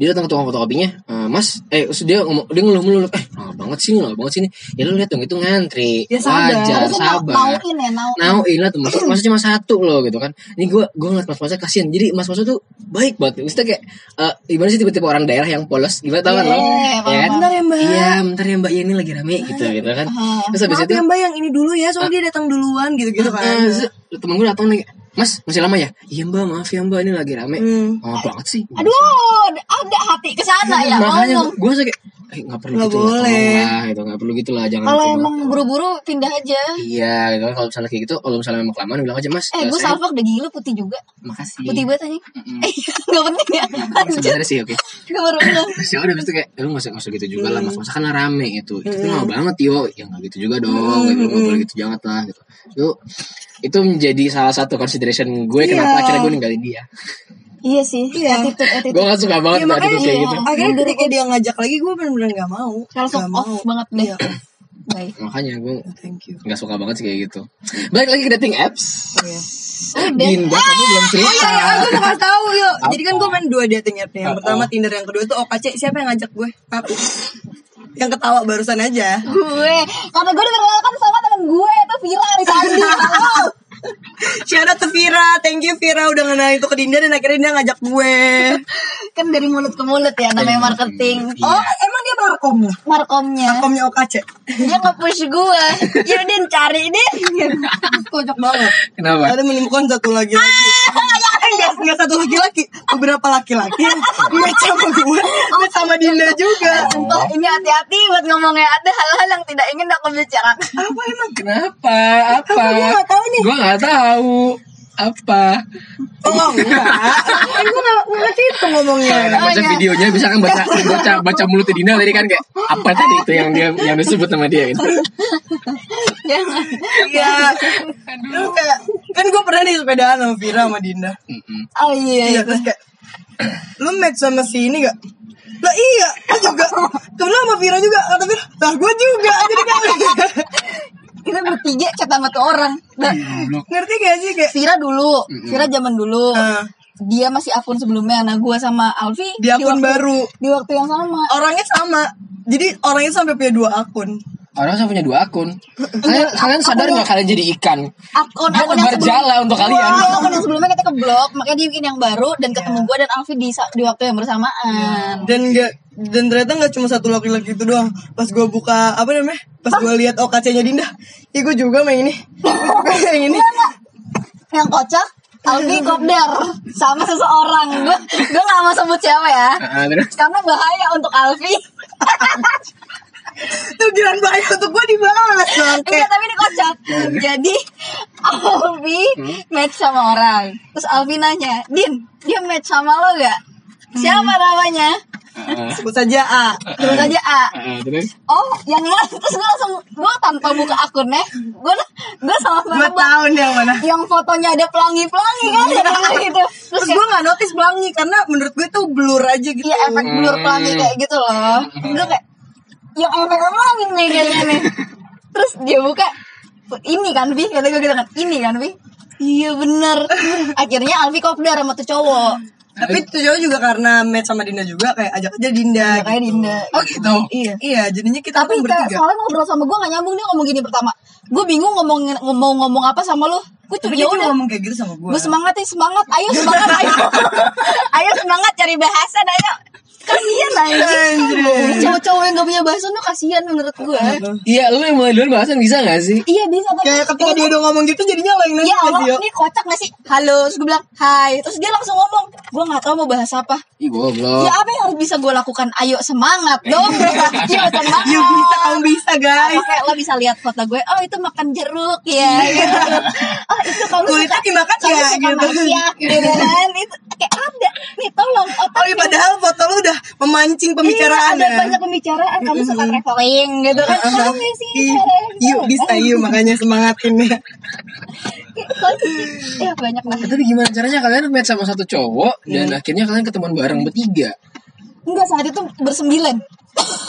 Speaker 2: dia datang ke tukang fotokopinya, "Eh, mas, eh terus dia ngomong, dia ngeluh ngeluh, eh lama banget sih, lama banget sih ini. Ya lu lihat dong itu ngantri,
Speaker 1: Ya, sabar.
Speaker 2: wajar,
Speaker 3: Harusnya nau-
Speaker 2: sabar.
Speaker 3: nauin ya, nauin.
Speaker 2: Nauin iya lah tuh, mas, mas cuma satu loh gitu kan. Ini gue gue ngeliat mas masnya kasihan, jadi mas masnya tuh baik banget. Maksudnya kayak eh, gimana sih tiba-tiba orang daerah yang polos, gimana tau kan lo? Ya
Speaker 3: Iya,
Speaker 2: kan?
Speaker 3: paham.
Speaker 1: Bentar ya, Mbak. Iya.
Speaker 2: Iya, bentar ya Mbak, ya ini lagi rame gitu gitu kan. Terus habis
Speaker 1: Maaf
Speaker 2: itu
Speaker 1: ya mbak yang ini dulu ya Soalnya dia datang duluan gitu-gitu kan
Speaker 2: eh, Z- temen gue datang nih, Mas masih lama ya? Iya Mbak, maaf ya Mbak, ini lagi rame.
Speaker 1: Hmm.
Speaker 2: Lama banget sih.
Speaker 3: Aduh, ada hati ke sana ya.
Speaker 2: makanya
Speaker 3: Ngomong.
Speaker 2: gue kayak, eh nggak perlu
Speaker 1: Nggak
Speaker 2: gitu lah,
Speaker 1: boleh.
Speaker 2: tolong lah, gitu, nggak perlu gitu lah, jangan.
Speaker 3: Kalau
Speaker 2: gitu lah.
Speaker 3: emang buru-buru pindah aja.
Speaker 2: Iya, gitu kan kalau misalnya kayak gitu, kalau misalnya memang kelamaan bilang aja Mas.
Speaker 3: Eh,
Speaker 2: eh,
Speaker 3: gue
Speaker 2: saya-
Speaker 3: salvok udah gila putih juga.
Speaker 2: Makasih.
Speaker 3: Putih banget anjing. Eh, Gak penting ya. Lanjut.
Speaker 2: Sebenarnya sih, oke.
Speaker 3: Gue baru bilang.
Speaker 2: Terus ya udah habis itu kayak eh, lu nggak usah nggak usah gitu juga
Speaker 1: Hmm.
Speaker 2: lah mas masa kan rame gitu itu tuh mau banget yo ya nggak gitu juga dong
Speaker 1: Hmm,
Speaker 2: gitu nggak boleh gitu jangan lah gitu itu itu menjadi salah satu consideration gue
Speaker 1: Iya.
Speaker 2: kenapa akhirnya gue ninggalin dia
Speaker 3: Iya sih. Attitude, attitude.
Speaker 2: gue nggak suka banget
Speaker 1: Ya
Speaker 2: tuh
Speaker 1: makanya
Speaker 2: attitude kayak gitu
Speaker 1: Akhirnya ketika dia ngajak lagi Gue bener-bener gak mau
Speaker 3: Langsung
Speaker 1: Nggak
Speaker 3: off
Speaker 1: mau.
Speaker 3: banget deh.
Speaker 1: Iya.
Speaker 3: Baik.
Speaker 2: makanya gue
Speaker 1: Thank you
Speaker 2: nggak suka banget sih kayak gitu balik lagi ke dating apps
Speaker 1: Iya.
Speaker 2: Dinda kamu belum
Speaker 1: Oh iya,
Speaker 2: cerita
Speaker 1: iya, aku mau kasih tahu yuk.
Speaker 2: Apa?
Speaker 1: Jadi kan gue main dua dating app nih. Yang pertama Tinder, yang kedua tuh OKC. Siapa yang ngajak gue? Aku. Yang ketawa barusan aja.
Speaker 3: Gue. Karena gue diperkenalkan kan sama temen gue. Itu Vira di Sandi.
Speaker 1: Shout out to Vira, thank you Vira udah ngenalin itu ke Dinda dan akhirnya dia ngajak gue.
Speaker 3: kan dari mulut ke mulut ya. Namanya
Speaker 2: Iya.
Speaker 3: marketing.
Speaker 1: Oh, emang dia ya? markom?
Speaker 3: Oh, Markomnya.
Speaker 1: Markomnya OKC.
Speaker 3: Dia nge-push gue.
Speaker 1: Ya Din, cari Din. Kocak banget.
Speaker 2: kenapa
Speaker 1: Ada menemukan satu laki-laki. Eh, enggak, enggak satu laki-laki. Beberapa laki-laki yang match sama gue dan sama Dinda juga.
Speaker 3: Sumpah ini hati-hati buat ngomongnya ada hal-hal yang tidak ingin aku bicarakan.
Speaker 1: Apa emang?
Speaker 2: kenapa apa
Speaker 1: Apa gue gak tahu nih?
Speaker 2: gue nggak tahu apa
Speaker 1: Oh enggak Kan gue gak, gak ngerti itu ngomongnya
Speaker 2: Enak baca
Speaker 3: iya.
Speaker 2: videonya bisa kan baca baca baca mulut Dinda tadi kan kayak apa tadi itu yang dia yang disebut sama dia gitu.
Speaker 3: Jangan.
Speaker 1: Iya Aduh kayak Kan gue pernah nih sepedaan sama Vira sama Dinda
Speaker 2: Mm-mm.
Speaker 3: Oh iya.
Speaker 1: Iya terus kayak Lu match sama si ini gak? Lah iya Gue juga Kebetulan sama Vira juga Kata Vira Lah gue juga Jadi kayak
Speaker 3: Kita bertiga chat sama tuh orang. Nah,
Speaker 1: Iya. Ngerti gak sih kayak
Speaker 3: Vira dulu, Vira zaman dulu.
Speaker 1: Ah.
Speaker 3: Dia masih akun sebelumnya. Nah, gua sama Alfi
Speaker 1: Di akun
Speaker 3: waktu-
Speaker 1: baru Oh.
Speaker 3: Di waktu yang sama.
Speaker 1: Orangnya sama Jadi orangnya sampai punya dua akun
Speaker 2: Orang saya punya dua akun. Kalian, kalian sadar nggak kalian jadi ikan?
Speaker 3: Akun
Speaker 2: Dia
Speaker 3: akun yang
Speaker 2: nebar
Speaker 3: sebelumnya.
Speaker 2: jala untuk kalian.
Speaker 3: Wah, akun yang sebelumnya kita keblok, makanya dia bikin yang baru dan ketemu
Speaker 1: Iya.
Speaker 3: gua dan Alfi di sa- di waktu yang bersamaan.
Speaker 1: dan gak dan ternyata nggak cuma satu laki-laki itu doang pas gue buka apa namanya pas gue lihat OKC-nya Dinda ya gue juga main ini Gua juga main ini
Speaker 3: yang kocak Alfi kopdar sama seseorang gue gue gak mau sebut siapa ya
Speaker 2: Ah, terus
Speaker 3: karena bahaya untuk Alfi
Speaker 1: tuh giliran bahaya untuk gue dibahas bangke
Speaker 3: enggak tapi ini kocak jadi Alfi
Speaker 1: Hmm?
Speaker 3: match sama orang terus Alfi nanya Din dia match sama lo gak siapa
Speaker 1: Hmm.
Speaker 3: namanya
Speaker 2: Ah,
Speaker 1: sebut saja A
Speaker 3: terus aja A
Speaker 2: ah, terus
Speaker 3: oh yang mana terus gue langsung gue tanpa buka akunnya gue gue salah
Speaker 1: gue
Speaker 3: menebak
Speaker 1: tahu nih yang mana
Speaker 3: yang fotonya ada pelangi-pelangi kan ada pelangi gitu
Speaker 1: terus
Speaker 3: terus
Speaker 1: gue nggak notice pelangi karena menurut gue tuh blur aja gitu
Speaker 3: Iya efek blur pelangi kayak gitu loh.
Speaker 1: Hmm.
Speaker 3: Gue kayak yang efek pelangi nih kayaknya nih. Terus dia buka ini kan Vi kata gue gitu kan ini kan Vi iya bener akhirnya Alfi kopdar sama tuh cowok
Speaker 1: tapi itu jauh juga karena match sama Dinda juga kayak ajak aja Dinda
Speaker 3: Nah, kayak Dinda
Speaker 2: oh gitu.
Speaker 3: iya
Speaker 1: iya jadinya kita
Speaker 3: tapi
Speaker 1: kan
Speaker 3: kayak
Speaker 1: bertiga
Speaker 3: soalnya ngobrol sama gue gak nyambung dia ngomong gini pertama gue bingung ngomong ngomong ngomong apa sama lu gue tuh
Speaker 1: tapi
Speaker 3: ya
Speaker 1: dia juga
Speaker 3: udah
Speaker 1: ngomong kayak gitu sama gue
Speaker 3: gue semangat ya semangat ayo semangat ayo ayo semangat cari bahasan ayo kasian anjing cowok-cowok yang gak punya bahasan tuh kasian menurut gue
Speaker 2: Iya, lu yang mulai duluan bahasan bisa gak sih?
Speaker 3: Iya bisa tapi
Speaker 1: kayak ketika dia gitu, udah ngomong gitu jadinya lain lagi
Speaker 3: Ya Allah
Speaker 1: Dio.
Speaker 3: ini kocak gak sih Halo Terus gue bilang hai Terus dia langsung ngomong Gue gak tahu mau bahas apa
Speaker 2: Ih, goblok.
Speaker 1: Oh.
Speaker 3: Ya apa yang harus bisa gue lakukan Ayo semangat dong Iya, Ayo semangat Iya,
Speaker 1: you Iya, bisa kamu bisa guys
Speaker 3: Kayak lo bisa lihat foto gue Oh itu makan jeruk ya Oh itu kamu
Speaker 1: kulitnya
Speaker 3: suka
Speaker 1: Iya. dimakan
Speaker 3: kamu
Speaker 1: ya
Speaker 3: suka
Speaker 1: gitu
Speaker 3: masak gitu kan Itu kayak ada Ini ini tolong otak
Speaker 1: Oh iya padahal foto lu udah memancing pembicaraan
Speaker 3: ada
Speaker 1: ya.
Speaker 3: banyak pembicaraan kamu suka traveling gitu kan
Speaker 1: Heeh.
Speaker 3: Tahu nggak sih gitu. ya.
Speaker 1: Ih,
Speaker 3: caranya?
Speaker 1: Yuk bisa yuk makanya semangatin ya.
Speaker 3: ya banyak banget
Speaker 2: Tapi gimana caranya kalian match sama satu cowok dan
Speaker 3: Iya.
Speaker 2: akhirnya kalian ketemuan bareng bertiga?
Speaker 3: enggak saat itu bersembilan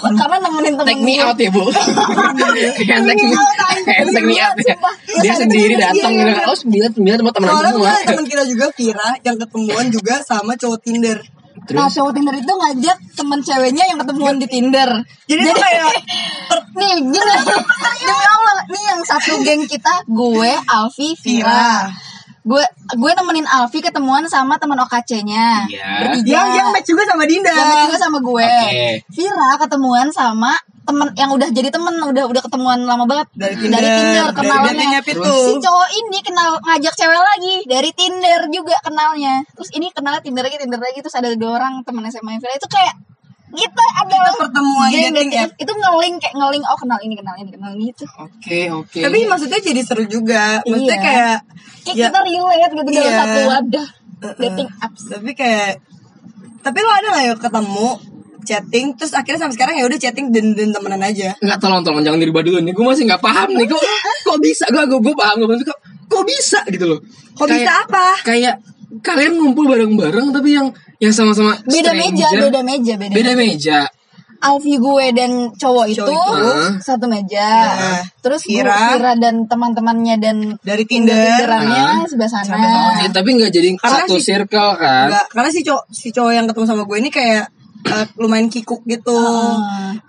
Speaker 3: karena nemenin temen
Speaker 2: Take me
Speaker 3: gue.
Speaker 2: out ya bu. Kayak take me out. Kayak take me out ya.
Speaker 3: Sumpah.
Speaker 2: Dia sendiri datang
Speaker 1: Iya,
Speaker 2: gitu.
Speaker 1: iya.
Speaker 2: Oh sembilan sembilan sama teman aku
Speaker 1: Soalnya
Speaker 2: semua.
Speaker 1: kemarin teman kita juga Vira yang ketemuan juga sama cowok Tinder.
Speaker 3: Nah
Speaker 2: Terus
Speaker 3: cowok Tinder itu ngajak temen ceweknya yang ketemuan di Tinder er,
Speaker 1: Jadi, tuh kayak
Speaker 3: Nih gini Demi Allah Nih yang satu geng kita Gue, Alfi, Vira
Speaker 1: Vira.
Speaker 3: Gue gue nemenin Alfi ketemuan sama teman OKC-nya
Speaker 2: Iya.
Speaker 3: Bertiga.
Speaker 1: yang yang match juga sama Dinda.
Speaker 3: Yang match juga sama gue
Speaker 2: Oke.
Speaker 3: Vira ketemuan sama temen yang udah jadi temen udah udah ketemuan lama banget
Speaker 1: Dari Tinder.
Speaker 3: Tinder
Speaker 1: Dari dating
Speaker 3: kenalannya
Speaker 1: app itu.
Speaker 3: si cowok ini kenal ngajak cewek lagi dari Tinder juga kenalnya terus ini kenalnya Tinder lagi Tinder lagi terus ada dua orang temen SMA Vira itu kayak kita adalah
Speaker 1: pertemuan
Speaker 3: geng
Speaker 1: dating
Speaker 3: dating
Speaker 1: app.
Speaker 3: itu ngeling kayak ngeling oh kenal ini kenal ini kenal ini gitu
Speaker 2: Oke oke.
Speaker 1: Tapi maksudnya jadi seru juga. Maksudnya
Speaker 3: Iya.
Speaker 1: kayak
Speaker 3: kayak
Speaker 1: Ya.
Speaker 3: kita relate gitu dalam
Speaker 1: Iya.
Speaker 3: satu wadah dating apps
Speaker 1: tapi kayak tapi lo ada gak ya ketemu chatting terus akhirnya sampai sekarang ya udah chatting dan dan temenan aja
Speaker 2: Nggak tolong tolong jangan dirubah dulu nih. Gue masih nggak paham nih. Kok kok bisa? Gue gue gue paham gue kok kok bisa gitu loh.
Speaker 1: Kok bisa apa?
Speaker 2: Kayak kalian ngumpul bareng-bareng tapi yang yang sama-sama
Speaker 3: beda meja
Speaker 2: stranger.
Speaker 3: beda meja beda,
Speaker 2: beda meja.
Speaker 3: Alfi gue dan cowok itu,
Speaker 1: itu.
Speaker 3: satu meja
Speaker 1: Nah,
Speaker 3: terus gue,
Speaker 1: Vira.
Speaker 3: Vira dan teman-temannya dan
Speaker 1: Dari Tinder.
Speaker 3: Tinderannya sebelah sana Oh, gitu,
Speaker 2: Ya, tapi nggak jadi
Speaker 1: Ah. Karena
Speaker 2: satu
Speaker 1: sih-
Speaker 2: circle kan.
Speaker 1: Enggak, karena si cowok si cowok yang ketemu sama gue ini kayak eh, lumayan kikuk gitu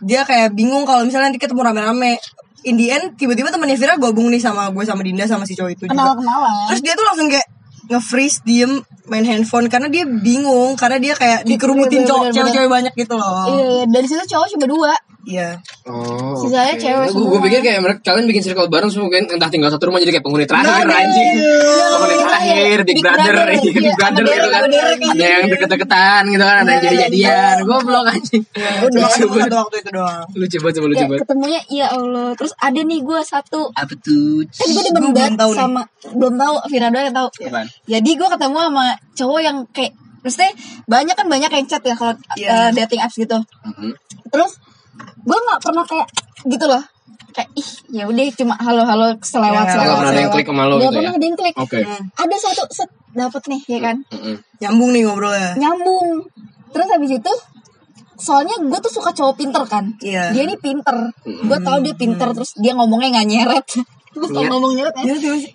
Speaker 1: dia kayak bingung kalau misalnya nanti ketemu rame-rame in the end tiba-tiba temannya Vira gabung nih sama gue sama Dinda sama si cowok itu
Speaker 3: kenal
Speaker 1: juga
Speaker 3: kenalan
Speaker 1: terus dia tuh langsung kayak nge-freeze diem main handphone karena dia bingung karena dia kayak dikerumutin
Speaker 3: Iya,
Speaker 1: cowok
Speaker 3: bener-bener.
Speaker 1: cewek-cewek banyak gitu loh
Speaker 3: Iya, iya. dari situ cowok cuma dua.
Speaker 1: iya
Speaker 2: Oh.
Speaker 3: Sisanya cewek semua.
Speaker 2: Gue pikir kayak mereka kalian bikin circle bareng semua mungkin entah tinggal satu rumah jadi kayak penghuni terakhir
Speaker 3: Iya,
Speaker 2: anjing. Penghuni terakhir, Big
Speaker 3: Big
Speaker 2: Brother,
Speaker 3: Brother,
Speaker 2: iya,
Speaker 3: iya,
Speaker 2: Big
Speaker 3: sama
Speaker 2: Brother gitu kan.
Speaker 3: Derek, sama Derek,
Speaker 2: Ada yang deket-deketan gitu kan, ada yang
Speaker 3: iya.
Speaker 2: jadi-jadian. Gue belum anjing.
Speaker 1: Nah, cuma
Speaker 2: Lucu
Speaker 1: ketemu
Speaker 2: banget.
Speaker 1: satu waktu itu doang
Speaker 2: Lucu banget sama lucu
Speaker 3: Kayak
Speaker 2: banget.
Speaker 3: ketemunya ya Allah. Terus ada nih gue satu
Speaker 2: Apa tuh?
Speaker 3: kan gue
Speaker 1: Gua
Speaker 3: demen
Speaker 1: belum
Speaker 3: banget
Speaker 1: tahu nih.
Speaker 3: sama belum tahu Vira doang yang tahu.
Speaker 2: Apaan?
Speaker 3: Jadi gue ketemu sama cowok yang kayak Maksudnya banyak kan banyak yang chat ya kalau
Speaker 1: Iya.
Speaker 3: eh, dating apps gitu.
Speaker 2: Mhm.
Speaker 3: Terus gue nggak pernah kayak gitu loh. Kayak ih ya udah cuma halo-halo
Speaker 1: Ya,
Speaker 3: selewat
Speaker 2: nggak
Speaker 3: selewat.
Speaker 2: pernah ada yang
Speaker 3: selewat.
Speaker 2: klik sama lo
Speaker 3: Nggak
Speaker 2: gitu ya?
Speaker 3: pernah ada yang klik. Iya.
Speaker 2: Oke.
Speaker 3: Ada satu set dapat nih ya kan.
Speaker 2: Mhm.
Speaker 1: nyambung nih ngobrolnya
Speaker 3: nyambung terus habis itu soalnya gue tuh suka cowok pinter kan
Speaker 1: Iya.
Speaker 3: dia ini pinter
Speaker 2: Hmm.
Speaker 3: gue tau dia pinter terus dia ngomongnya nggak nyeret terus
Speaker 2: Iya.
Speaker 3: kalau ngomong nyeret ya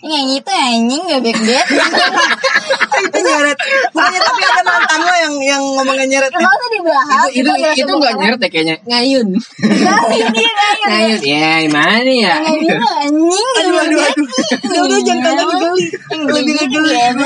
Speaker 3: nyanyi itu anjing gak baik banget
Speaker 1: Iya, itu nyeret bukannya tapi ada mantan lo yang yang ngomongnya nyeret
Speaker 3: kenapa tuh dibahas
Speaker 2: Itu
Speaker 3: adalah
Speaker 2: itu
Speaker 3: sebuah
Speaker 2: nggak
Speaker 3: kerak.
Speaker 2: nyeret ya kayaknya. Ngayun.
Speaker 3: Ngayun, iya, ngayun.
Speaker 2: Ngayun. Ya gimana nih ya?
Speaker 3: Ngayun itu anjing
Speaker 1: aduh aduh
Speaker 3: gak baik banget
Speaker 1: aduh
Speaker 3: Ya
Speaker 1: udah udah jangan tanya geli lebih ke geli
Speaker 3: lo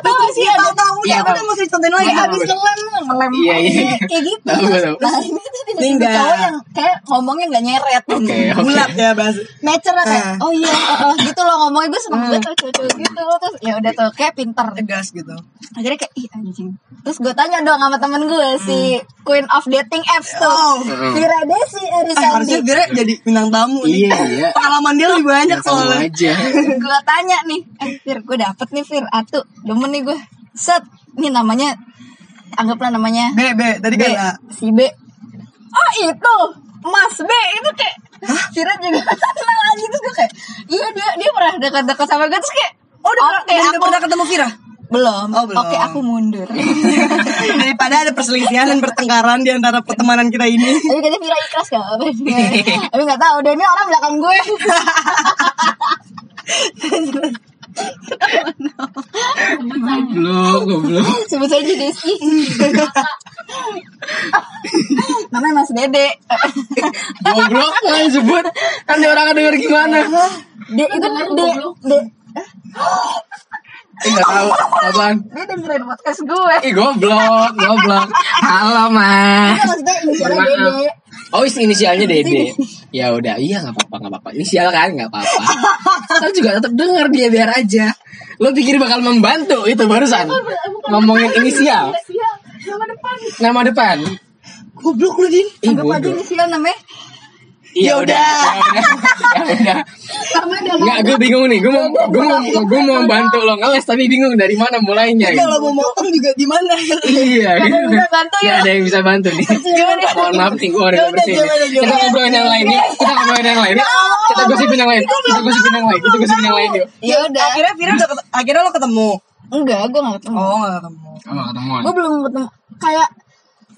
Speaker 3: tau gak sih
Speaker 1: tahu
Speaker 3: ada
Speaker 1: tahu udah
Speaker 2: Iya,
Speaker 1: udah
Speaker 2: tahu.
Speaker 1: mau dicontohin lagi
Speaker 3: kayak habis ngelan ngelem
Speaker 2: Iya, iya.
Speaker 3: kayak gitu
Speaker 2: Tahu, tahu.
Speaker 3: nah ini tuh tiba-tiba
Speaker 1: Linda.
Speaker 3: cowok yang kayak ngomongnya nggak nyeret
Speaker 2: Oke, oke.
Speaker 1: bulat ya bahas
Speaker 3: nature lah kayak
Speaker 1: Ah.
Speaker 3: oh iya oh, oh, gitu loh ngomongnya gue seneng banget cowok cowok gitu loh terus ya udah tuh kayak pinter
Speaker 1: tegas gitu
Speaker 3: akhirnya kayak ih anjing terus gue tanya dong sama temen gue si queen of dating apps tuh
Speaker 1: Oh.
Speaker 3: Vira Desi
Speaker 1: eh, harusnya
Speaker 3: Arisandi
Speaker 1: Vira jadi bintang tamu nih
Speaker 2: Iya, iya.
Speaker 1: pengalaman dia lebih banyak
Speaker 2: Sama
Speaker 1: soalnya
Speaker 2: aja.
Speaker 3: gue tanya nih eh Vir gue dapet nih Vir atu demen nih gue set nih namanya anggaplah namanya
Speaker 1: B B tadi
Speaker 3: B
Speaker 1: kan A.
Speaker 3: si B oh itu Mas B itu kayak Vira juga kenal aja terus gue kayak iya dia dia pernah dekat-dekat sama gue terus kayak
Speaker 1: oh udah
Speaker 3: oke
Speaker 1: pernah, udah
Speaker 3: aku
Speaker 1: pernah ketemu Vira
Speaker 3: belum.
Speaker 1: Oh, belum.
Speaker 3: Oke, aku mundur.
Speaker 1: daripada ada perselisihan dan pertengkaran di antara pertemanan kita ini
Speaker 3: Tapi katanya Vira ikhlas gak apa Tapi gak tau, dan ini orang belakang gue.
Speaker 2: Belum, belum.
Speaker 3: Sebut saja Desi. Namanya Mas Dede.
Speaker 2: Goblok jangan disebut Nanti orang akan denger gimana
Speaker 3: Iya. Dia itu Dede. Dia
Speaker 2: Eh gak tau Apaan
Speaker 3: dia dengerin podcast gue.
Speaker 2: Ih goblok Goblok Halo
Speaker 3: Iya,
Speaker 2: mas
Speaker 3: maksudnya inisialnya Dede.
Speaker 2: Oh is- inisialnya Dede Ya udah iya gak apa-apa gak apa-apa Inisial kan gak apa-apa Tapi juga tetap denger dia biar aja Lo pikir bakal membantu itu barusan Ngomongin inisial
Speaker 3: Iya, nama depan.
Speaker 2: Nama depan
Speaker 1: goblok lu Din
Speaker 2: Ih
Speaker 3: Anggap aja
Speaker 2: bodoh
Speaker 3: inisial namanya
Speaker 2: Ya udah. Ya udah. Enggak, gue bingung nih. Gue mau gue mau gue mau bantu lo ngeles tapi bingung dari mana mulainya. gitu.
Speaker 1: Kalau mau motong juga gimana?
Speaker 2: Iya.
Speaker 3: Iya, yang bisa bantu ya?
Speaker 2: Gak ada yang bisa bantu nih. Mohon maaf nih, gue udah
Speaker 1: Yaudah,
Speaker 2: bersihin.
Speaker 1: Ya gimana, Ya
Speaker 2: nih. Kita
Speaker 1: gimana?
Speaker 2: ngobrolin yang lain nih. Kita ngobrolin yang lain. Kita gosipin yang lain. Kita gosipin yang lain. Kita gosipin yang lain yuk.
Speaker 3: Ya udah.
Speaker 1: Iya, Akhirnya Vira udah ket- akhirnya lo ketemu.
Speaker 3: Enggak, gue gak ketemu.
Speaker 1: Oh, gak ketemu.
Speaker 2: Oh, ketemuan.
Speaker 3: Gue belum ketemu. Kayak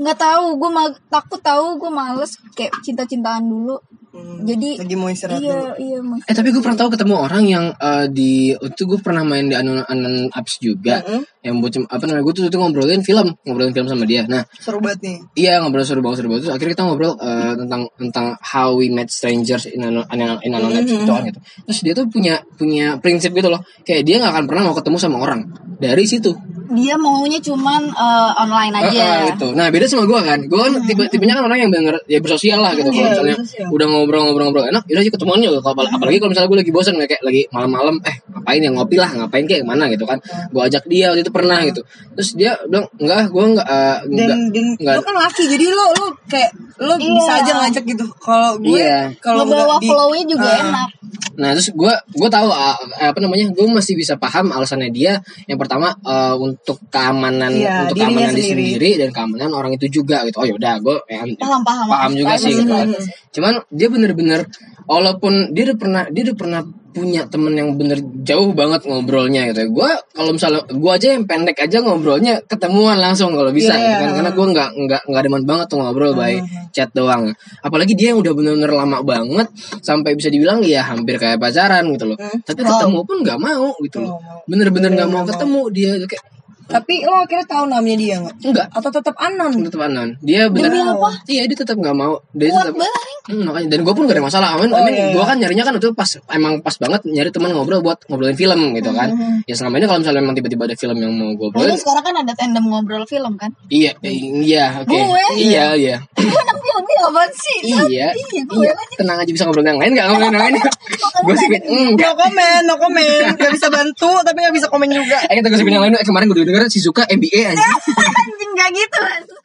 Speaker 3: nggak tahu, gue mal takut tahu, gue males kayak cinta-cintaan dulu.
Speaker 1: Hmm,
Speaker 3: Jadi
Speaker 1: lagi mau istirahat
Speaker 3: iya,
Speaker 1: dulu.
Speaker 3: iya mas.
Speaker 2: Eh tapi gue pernah tahu ketemu orang yang eh, di itu gue pernah main di anon anon apps juga yang buat cem- apa namanya gue tuh, tuh ngobrolin film ngobrolin film sama dia. Nah
Speaker 1: Seru banget nih.
Speaker 2: iya ngobrol seru banget seru banget terus akhirnya kita ngobrol eh, tentang tentang how we met strangers in anon anon- in anon
Speaker 1: Mm-hmm.
Speaker 2: apps gitu kan gitu. Terus dia tuh punya punya prinsip gitu loh kayak dia nggak akan pernah mau ketemu sama orang dari situ.
Speaker 3: Dia maunya cuman eh, online
Speaker 2: Heeh,
Speaker 3: aja.
Speaker 2: gitu. Nah beda sama gue kan, gue
Speaker 1: Hmm.
Speaker 2: kan tipe tipenya kan orang yang bener ya bersosial lah
Speaker 1: Iya,
Speaker 2: gitu. Kalau misalnya udah ngobrol-ngobrol-ngobrol enak, udah sih ketemuannya gitu. Kalau
Speaker 1: Hmm.
Speaker 2: apal- apalagi kalau misalnya gue lagi bosan kayak lagi malam-malam, eh ngapain ya ngopi lah, ngapain kayak kemana gitu kan.
Speaker 1: Hmm.
Speaker 2: Gue ajak dia waktu itu pernah gitu. Terus dia bilang enggak, gue enggak eh, enggak.
Speaker 1: Dan, dan
Speaker 2: enggak.
Speaker 1: lo kan laki jadi lo lo kayak lo bisa aja ngajak gitu. Kalau gue
Speaker 2: Iya.
Speaker 1: kalau
Speaker 3: Ngebawa
Speaker 1: nggak di-
Speaker 3: flow-nya juga
Speaker 1: Ah.
Speaker 3: enak.
Speaker 2: Nah terus gue gue tahu ah, apa namanya, gue masih bisa paham alasannya dia. Yang pertama eh, untuk keamanan
Speaker 1: Iya,
Speaker 2: untuk
Speaker 1: dirinya
Speaker 2: keamanan
Speaker 1: sendiri.
Speaker 2: di sendiri dan keamanan orang itu juga gitu. Oh yaudah, gue
Speaker 3: Paham, paham.
Speaker 2: paham juga sih
Speaker 3: Privacy,
Speaker 2: gitu kan.
Speaker 3: privacy.
Speaker 2: Cuman dia bener-bener walaupun dia udah pernah dia udah pernah punya temen yang bener jauh banget ngobrolnya gitu. ya. Gua kalau misalnya gua aja yang pendek aja ngobrolnya ketemuan langsung kalau bisa gitu kan karena gua nggak nggak nggak demen banget tuh ngobrol by chat doang. Apalagi dia yang udah bener-bener lama banget sampai bisa dibilang ya hampir kayak pacaran gitu loh. Tapi ketemu pun nggak mau gitu loh. Bener-bener nggak mau ketemu dia kayak
Speaker 1: Tapi lo akhirnya tahu namanya dia nggak?
Speaker 2: enggak
Speaker 1: Atau tetap anon?
Speaker 2: tetap anon dia bener iya dia tetap nggak mau dia tetap Hmm, makanya dan gue pun gak ada masalah amin amin gue kan nyarinya kan itu pas emang pas banget nyari teman ngobrol buat ngobrolin film gitu kan ya selama ini kalau misalnya memang tiba-tiba ada film yang mau gue
Speaker 3: Dulu
Speaker 2: obrolin
Speaker 3: sekarang kan ada tandem ngobrol film kan?
Speaker 2: iya i- iya oke
Speaker 3: Gue?
Speaker 2: iya iya
Speaker 3: Gue anak film dia apaan sih?
Speaker 2: iya iya tenang aja bisa ngobrolin yang lain gak ngobrolin yang lain gue sih
Speaker 1: No
Speaker 2: enggak
Speaker 1: comment, no comment. Gak bisa bantu, tapi gak bisa komen juga.
Speaker 2: Eh kita gosipin yang lain eh, kemarin gue denger si Zuka MBA anjing
Speaker 3: Anjing gak gitu. Mas.